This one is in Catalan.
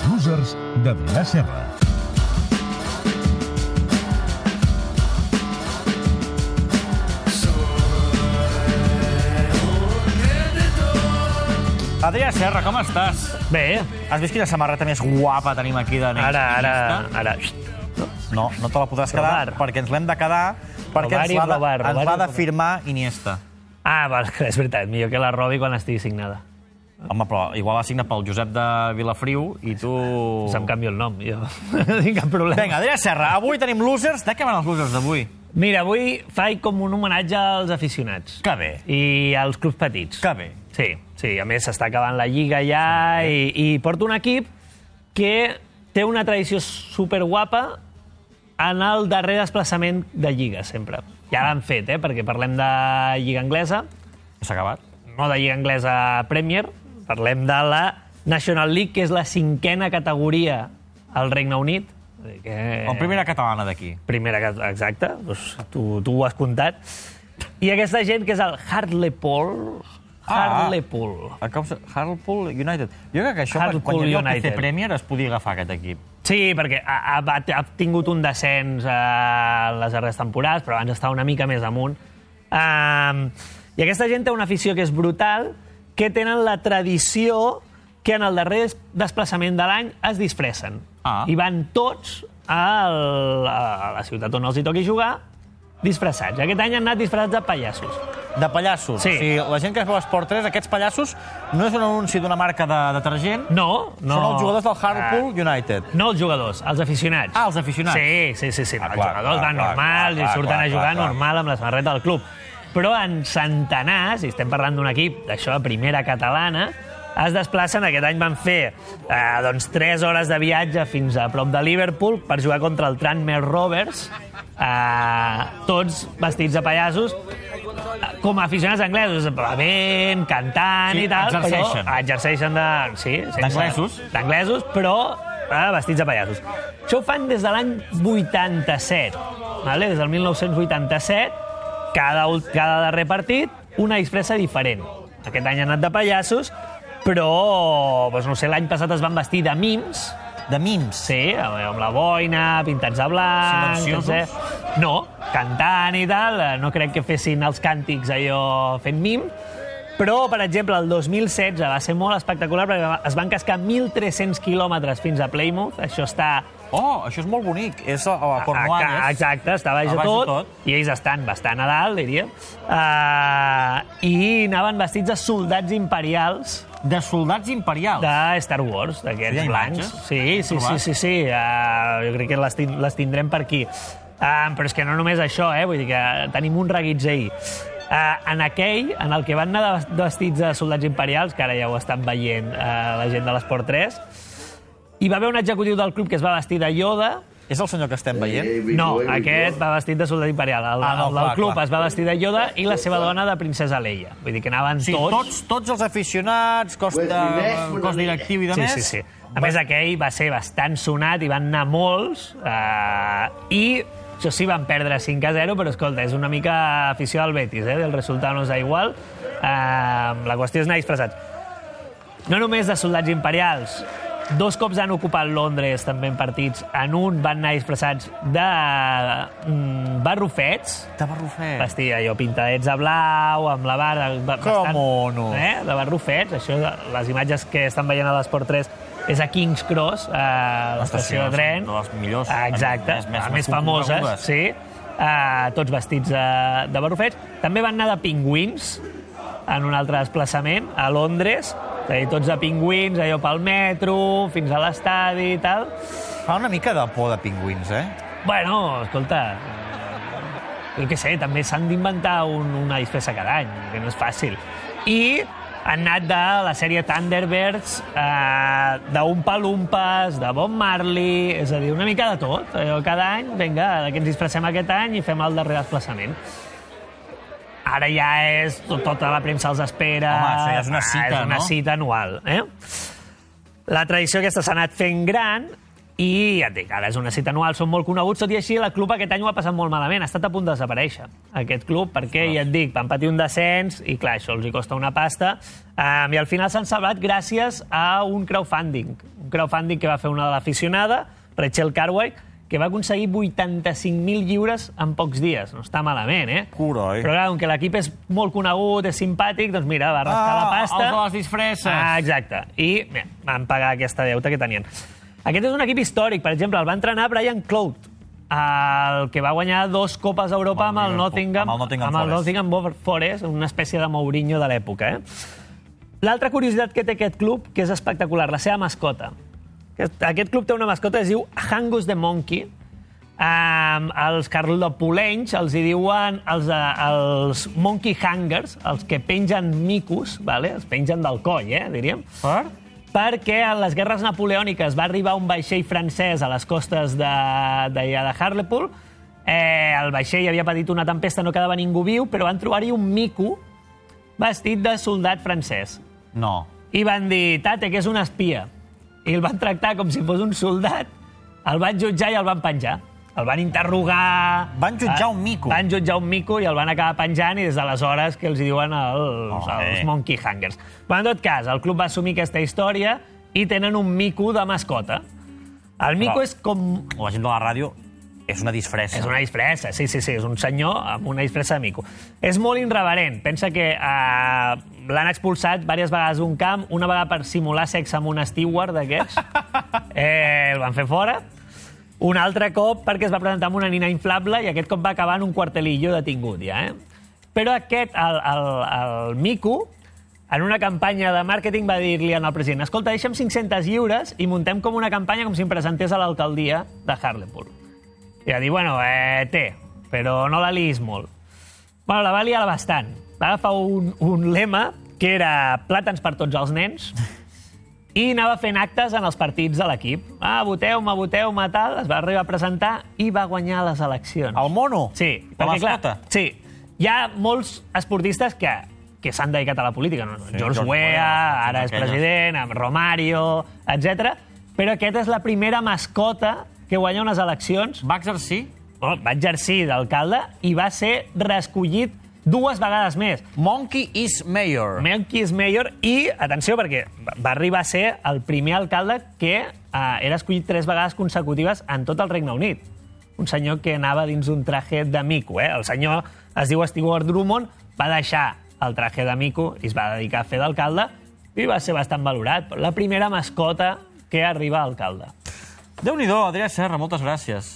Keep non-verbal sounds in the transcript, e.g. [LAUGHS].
Cèsars de Vila-serra. Adrià Serra, com estàs? Bé, Has vist quina samarreta més guapa tenim aquí de nens? ara, ara, feminista? ara. No, no te la podràs quedar, Robar. perquè ens l'hem de quedar, perquè Robar i ens l'ha de, robar, robar ens l'ha i de robar. firmar Iniesta. Ah, va, [LAUGHS] és veritat, millor que la robi quan estigui signada. Home, però igual l'ha signat pel Josep de Vilafriu i tu... Uh. Se'm canvio el nom, jo [LAUGHS] no tinc cap problema. Oh. Vinga, Adrià Serra, avui tenim losers. De què van els losers d'avui? Mira, avui faig com un homenatge als aficionats. Que bé, I als clubs petits. que bé. Sí, sí, a més s'està acabant la lliga ja i, i porto un equip que té una tradició superguapa en el darrer desplaçament de lliga, sempre. Ja l'han fet, eh, perquè parlem de lliga anglesa, S'ha acabat? no de lliga anglesa Premier, parlem de la National League, que és la cinquena categoria al Regne Unit. Vull dir Que... Eh... La primera catalana d'aquí. Primera, cat- exacte, doncs tu, tu ho has comptat. I aquesta gent que és el Hartlepool, Ah. Hartlepool. El Com... Hartlepool United. Jo crec que això, quan Hartlepool hi havia el United. PC Premier, es podia agafar aquest equip. Sí, perquè ha, ha, bat- ha tingut un descens eh, en les darreres temporades, però abans estava una mica més amunt. Um, I aquesta gent té una afició que és brutal, que tenen la tradició que en el darrer des- desplaçament de l'any es disfressen. Ah. I van tots al, a la ciutat on els hi toqui jugar disfressats. Aquest any han anat disfressats de pallassos. De pallassos. Sí. O sigui, la gent que es veu a Esport 3, aquests pallassos, no és un anunci d'una marca de detergent, No, no. són els jugadors del Hartlepool United. No els jugadors, els aficionats. Ah, els aficionats. Sí, sí, sí. sí. Ah, els clar, jugadors clar, van clar, normals clar, i surten clar, a jugar clar, clar. normal amb la samarreta del club. Però en centenars, i estem parlant d'un equip d'això de primera catalana, es desplacen, aquest any van fer eh, doncs 3 hores de viatge fins a prop de Liverpool per jugar contra el Tranmere Rovers, eh, tots vestits de pallassos, eh, com a aficionats anglesos, bevent, cantant Sí, i tal, exerceixen. però exerceixen de... Sí, sense- D'anglesos. d'anglesos, però eh, vestits de pallassos. Això ho fan des de l'any 87, vale? des del 1987, cada, ult- cada darrer partit, una disfressa diferent. Aquest any han anat de pallassos, però doncs no sé, l'any passat es van vestir de mims, De mims. sí, amb amb la boina, pintats de blanc... Silenciosos? etcètera. No, cantant i tal, eh, no crec que fessin els càntics allò fent mim, però, per exemple, el 2016 va ser molt espectacular perquè va- es van cascar 1.300 quilòmetres fins a Plymouth, això està Oh, això és molt bonic. És a, a Cornualles. a- a- Ah, Exacte, està baix, A de baix de tot, tot. I ells estan bastant a dalt, diríem. Uh, I anaven vestits de soldats imperials De soldats imperials. de Star Hi Wars, ha d'aquests imatges? blancs. Sí, Has sí, sí, trobat? sí, sí. Uh, jo crec que les, tin les tindrem per aquí. Uh, però és que no només això, eh? Vull dir que tenim un reguitzell. Uh, en aquell, en el que van anar de- vestits de soldats imperials, que ara ja ho estan veient uh, la gent de l'Esport 3, hi va haver un executiu del club que es va vestir de Yoda, És el senyor que estem veient? no, aquest va vestit de soldat imperial. El, Ah, ah, no, no, el clar, del club clar. clar. es va vestir de Yoda i la seva dona de princesa Leia. Vull dir que anaven Sí, tots? tots... tots, tots els aficionats, cos, de, cos directiu i de Sí, més. sí, sí. A més, aquell va ser bastant sonat i van anar molts. Eh, I això sí, van perdre 5 a 0, però escolta, és una mica afició del Betis, eh? El resultat no és igual. Eh, la qüestió és anar disfressats. No només de soldats imperials, dos cops han ocupat Londres també en partits. En un van anar disfressats de mm, barrufets, De barrufet. vestir allò pintadets de blau, amb la barra... ba- Que mono. Eh? De barrufets, això, les imatges que estan veient a l'Esport 3 és a King's Cross, a L'estació l'estació de tren. de les millors, Ah, Exacte, més- les més- més, més famoses, conegudes. sí. Uh, tots vestits de, de barrufets. També van anar de pingüins en un altre desplaçament, a Londres. És a dir, tots de pingüins, allò pel metro, fins a l'estadi i tal. Fa una mica de por de pingüins, eh? Bueno, escolta, eh, jo què sé, també s'han d'inventar un, una disfressa cada any, que no és fàcil. I han anat de la sèrie Thunderbirds, eh, d'Umpa Lumpes, de Bob Marley, és a dir, una mica de tot. Allò, cada any, vinga, de què ens disfressem aquest any i fem el darrer desplaçament. Ara ja és... to- Tota la premsa els espera. Home, això ja és una Ah, cita, és una no? cita anual, eh? La tradició aquesta s'ha anat fent gran I ja et dic, ara és una cita anual, són molt coneguts, tot i així el club aquest any ho ha passat molt malament, ha estat a punt de desaparèixer aquest club, perquè ja et dic, van patir un descens i clar, això els hi costa una pasta, um, i al final s'han salvat gràcies a un crowdfunding, un crowdfunding que va fer una de l'aficionada, Rachel Carway, que va aconseguir 85.000 lliures en pocs dies. No està malament, eh? Coroi. Però clar, com que l'equip és molt conegut, és simpàtic, doncs mira, va rascar Ah, la pasta. els de les disfresses. Ah, exacte. I mira, van pagar aquesta deuta que tenien. Aquest és un equip històric. Per exemple, el va entrenar Brian Clout, el que va guanyar dos Copes Europa amb el Nottingham, Amb el Nottingham amb el Forest. Nottingham Forest, una espècie de Mourinho de l'època. Eh? L'altra curiositat que té aquest club, que és espectacular, la seva mascota. Aquest- Aquest club té una mascota que es diu Hangus the Monkey. Um, els carlopolenys els hi diuen els, de, els monkey hangers, els que pengen micos, vale? els pengen del coll, eh, diríem Per? perquè en les guerres napoleòniques va arribar un vaixell francès a les costes de, de, de Harlepool. Eh, el vaixell havia patit una tempesta, no quedava ningú viu, però van trobar-hi un mico vestit de soldat francès. No. I van dir, tate, que és un espia. I el van tractar com si fos un soldat, el van jutjar i el van penjar. El van interrogar... Van jutjar eh, un mico. Van jutjar un mico i el van acabar penjant i des d'aleshores que els hi diuen els, Ole. els monkey hangers. Però en tot cas, el club va assumir aquesta història i tenen un mico de mascota. El mico Però- és com La gent de la ràdio és una disfressa. és una disfressa, sí, sí, sí, és un senyor amb una disfressa de mico. És molt irreverent. Pensa que eh, l'han expulsat diverses vegades d'un camp, una vegada per simular sexe amb un steward d'aquests. Eh, el van fer fora. Un altre cop perquè es va presentar amb una nina inflable i aquest cop va acabar en un quartelillo detingut, ja, eh? Però aquest, el, el, el mico, en una campanya de màrqueting va dir-li al president escolta, deixa'm 500 lliures i muntem com una campanya com si em presentés a l'alcaldia de Harlepool. I va dir, bueno, eh, té, però no la liis molt. Bueno, la va liar bastant. Va agafar un, un lema que era plàtans per tots els nens i anava fent actes en els partits de l'equip. Ah, voteu-me, voteu-me, tal. Es va arribar a presentar i va guanyar les eleccions. El mono? Sí, La perquè clar, mascota? sí, hi ha molts esportistes que, que s'han dedicat a la política. No? Sí, George George Weah, Weah, ara és aquelles. president, amb Romario, etc. Però aquesta és la primera mascota que guanya unes eleccions Va exercir? Bueno, Oh, va exercir d'alcalde i va ser reescollit dues vegades més. Monkey is mayor. Melky és mayor i, atenció, perquè va arribar a ser el primer alcalde que eh, era escollit tres vegades consecutives en tot el Regne Unit. Un senyor que anava dins d'un traje de mico. Eh? El senyor es diu Stewart Drummond, va deixar el traje de mico i es va dedicar a fer d'alcalde i va ser bastant valorat. La primera mascota que arriba a alcalde. Déu-n'hi-do, Adrià Serra, moltes gràcies.